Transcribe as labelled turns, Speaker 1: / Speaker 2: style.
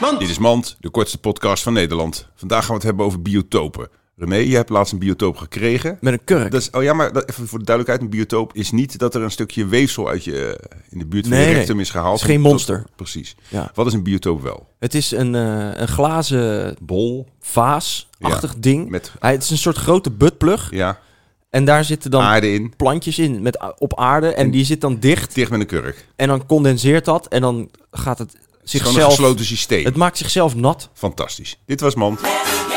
Speaker 1: Mand.
Speaker 2: Dit is Mand, de kortste podcast van Nederland. Vandaag gaan we het hebben over biotopen. René, je hebt laatst een biotoop gekregen.
Speaker 1: Met een kurk.
Speaker 2: Dat is, oh ja, maar dat, even voor de duidelijkheid, een biotoop is niet dat er een stukje weefsel uit je eh, in de buurt van
Speaker 1: Nee,
Speaker 2: je
Speaker 1: nee.
Speaker 2: rectum is gehaald.
Speaker 1: Het is geen
Speaker 2: Dat-
Speaker 1: monster.
Speaker 2: precies.
Speaker 1: Ja.
Speaker 2: Wat is een biotoop wel?
Speaker 1: Het is een, eh, een glazen
Speaker 2: Bol.
Speaker 1: vaasachtig ding.
Speaker 2: Met
Speaker 1: Hij, het is een soort grote buttplug.
Speaker 2: ja,
Speaker 1: En daar zitten dan
Speaker 2: aarde in,
Speaker 1: plantjes in met, a- op aarde. En die zit dan dicht.
Speaker 2: dicht met een kurk.
Speaker 1: En dan condenseert dat. En dan gaat het
Speaker 2: Het is gewoon een
Speaker 1: zichzelf...
Speaker 2: gesloten systeem.
Speaker 1: Het maakt zichzelf nat.
Speaker 2: Fantastisch. Dit was Mand.
Speaker 3: Met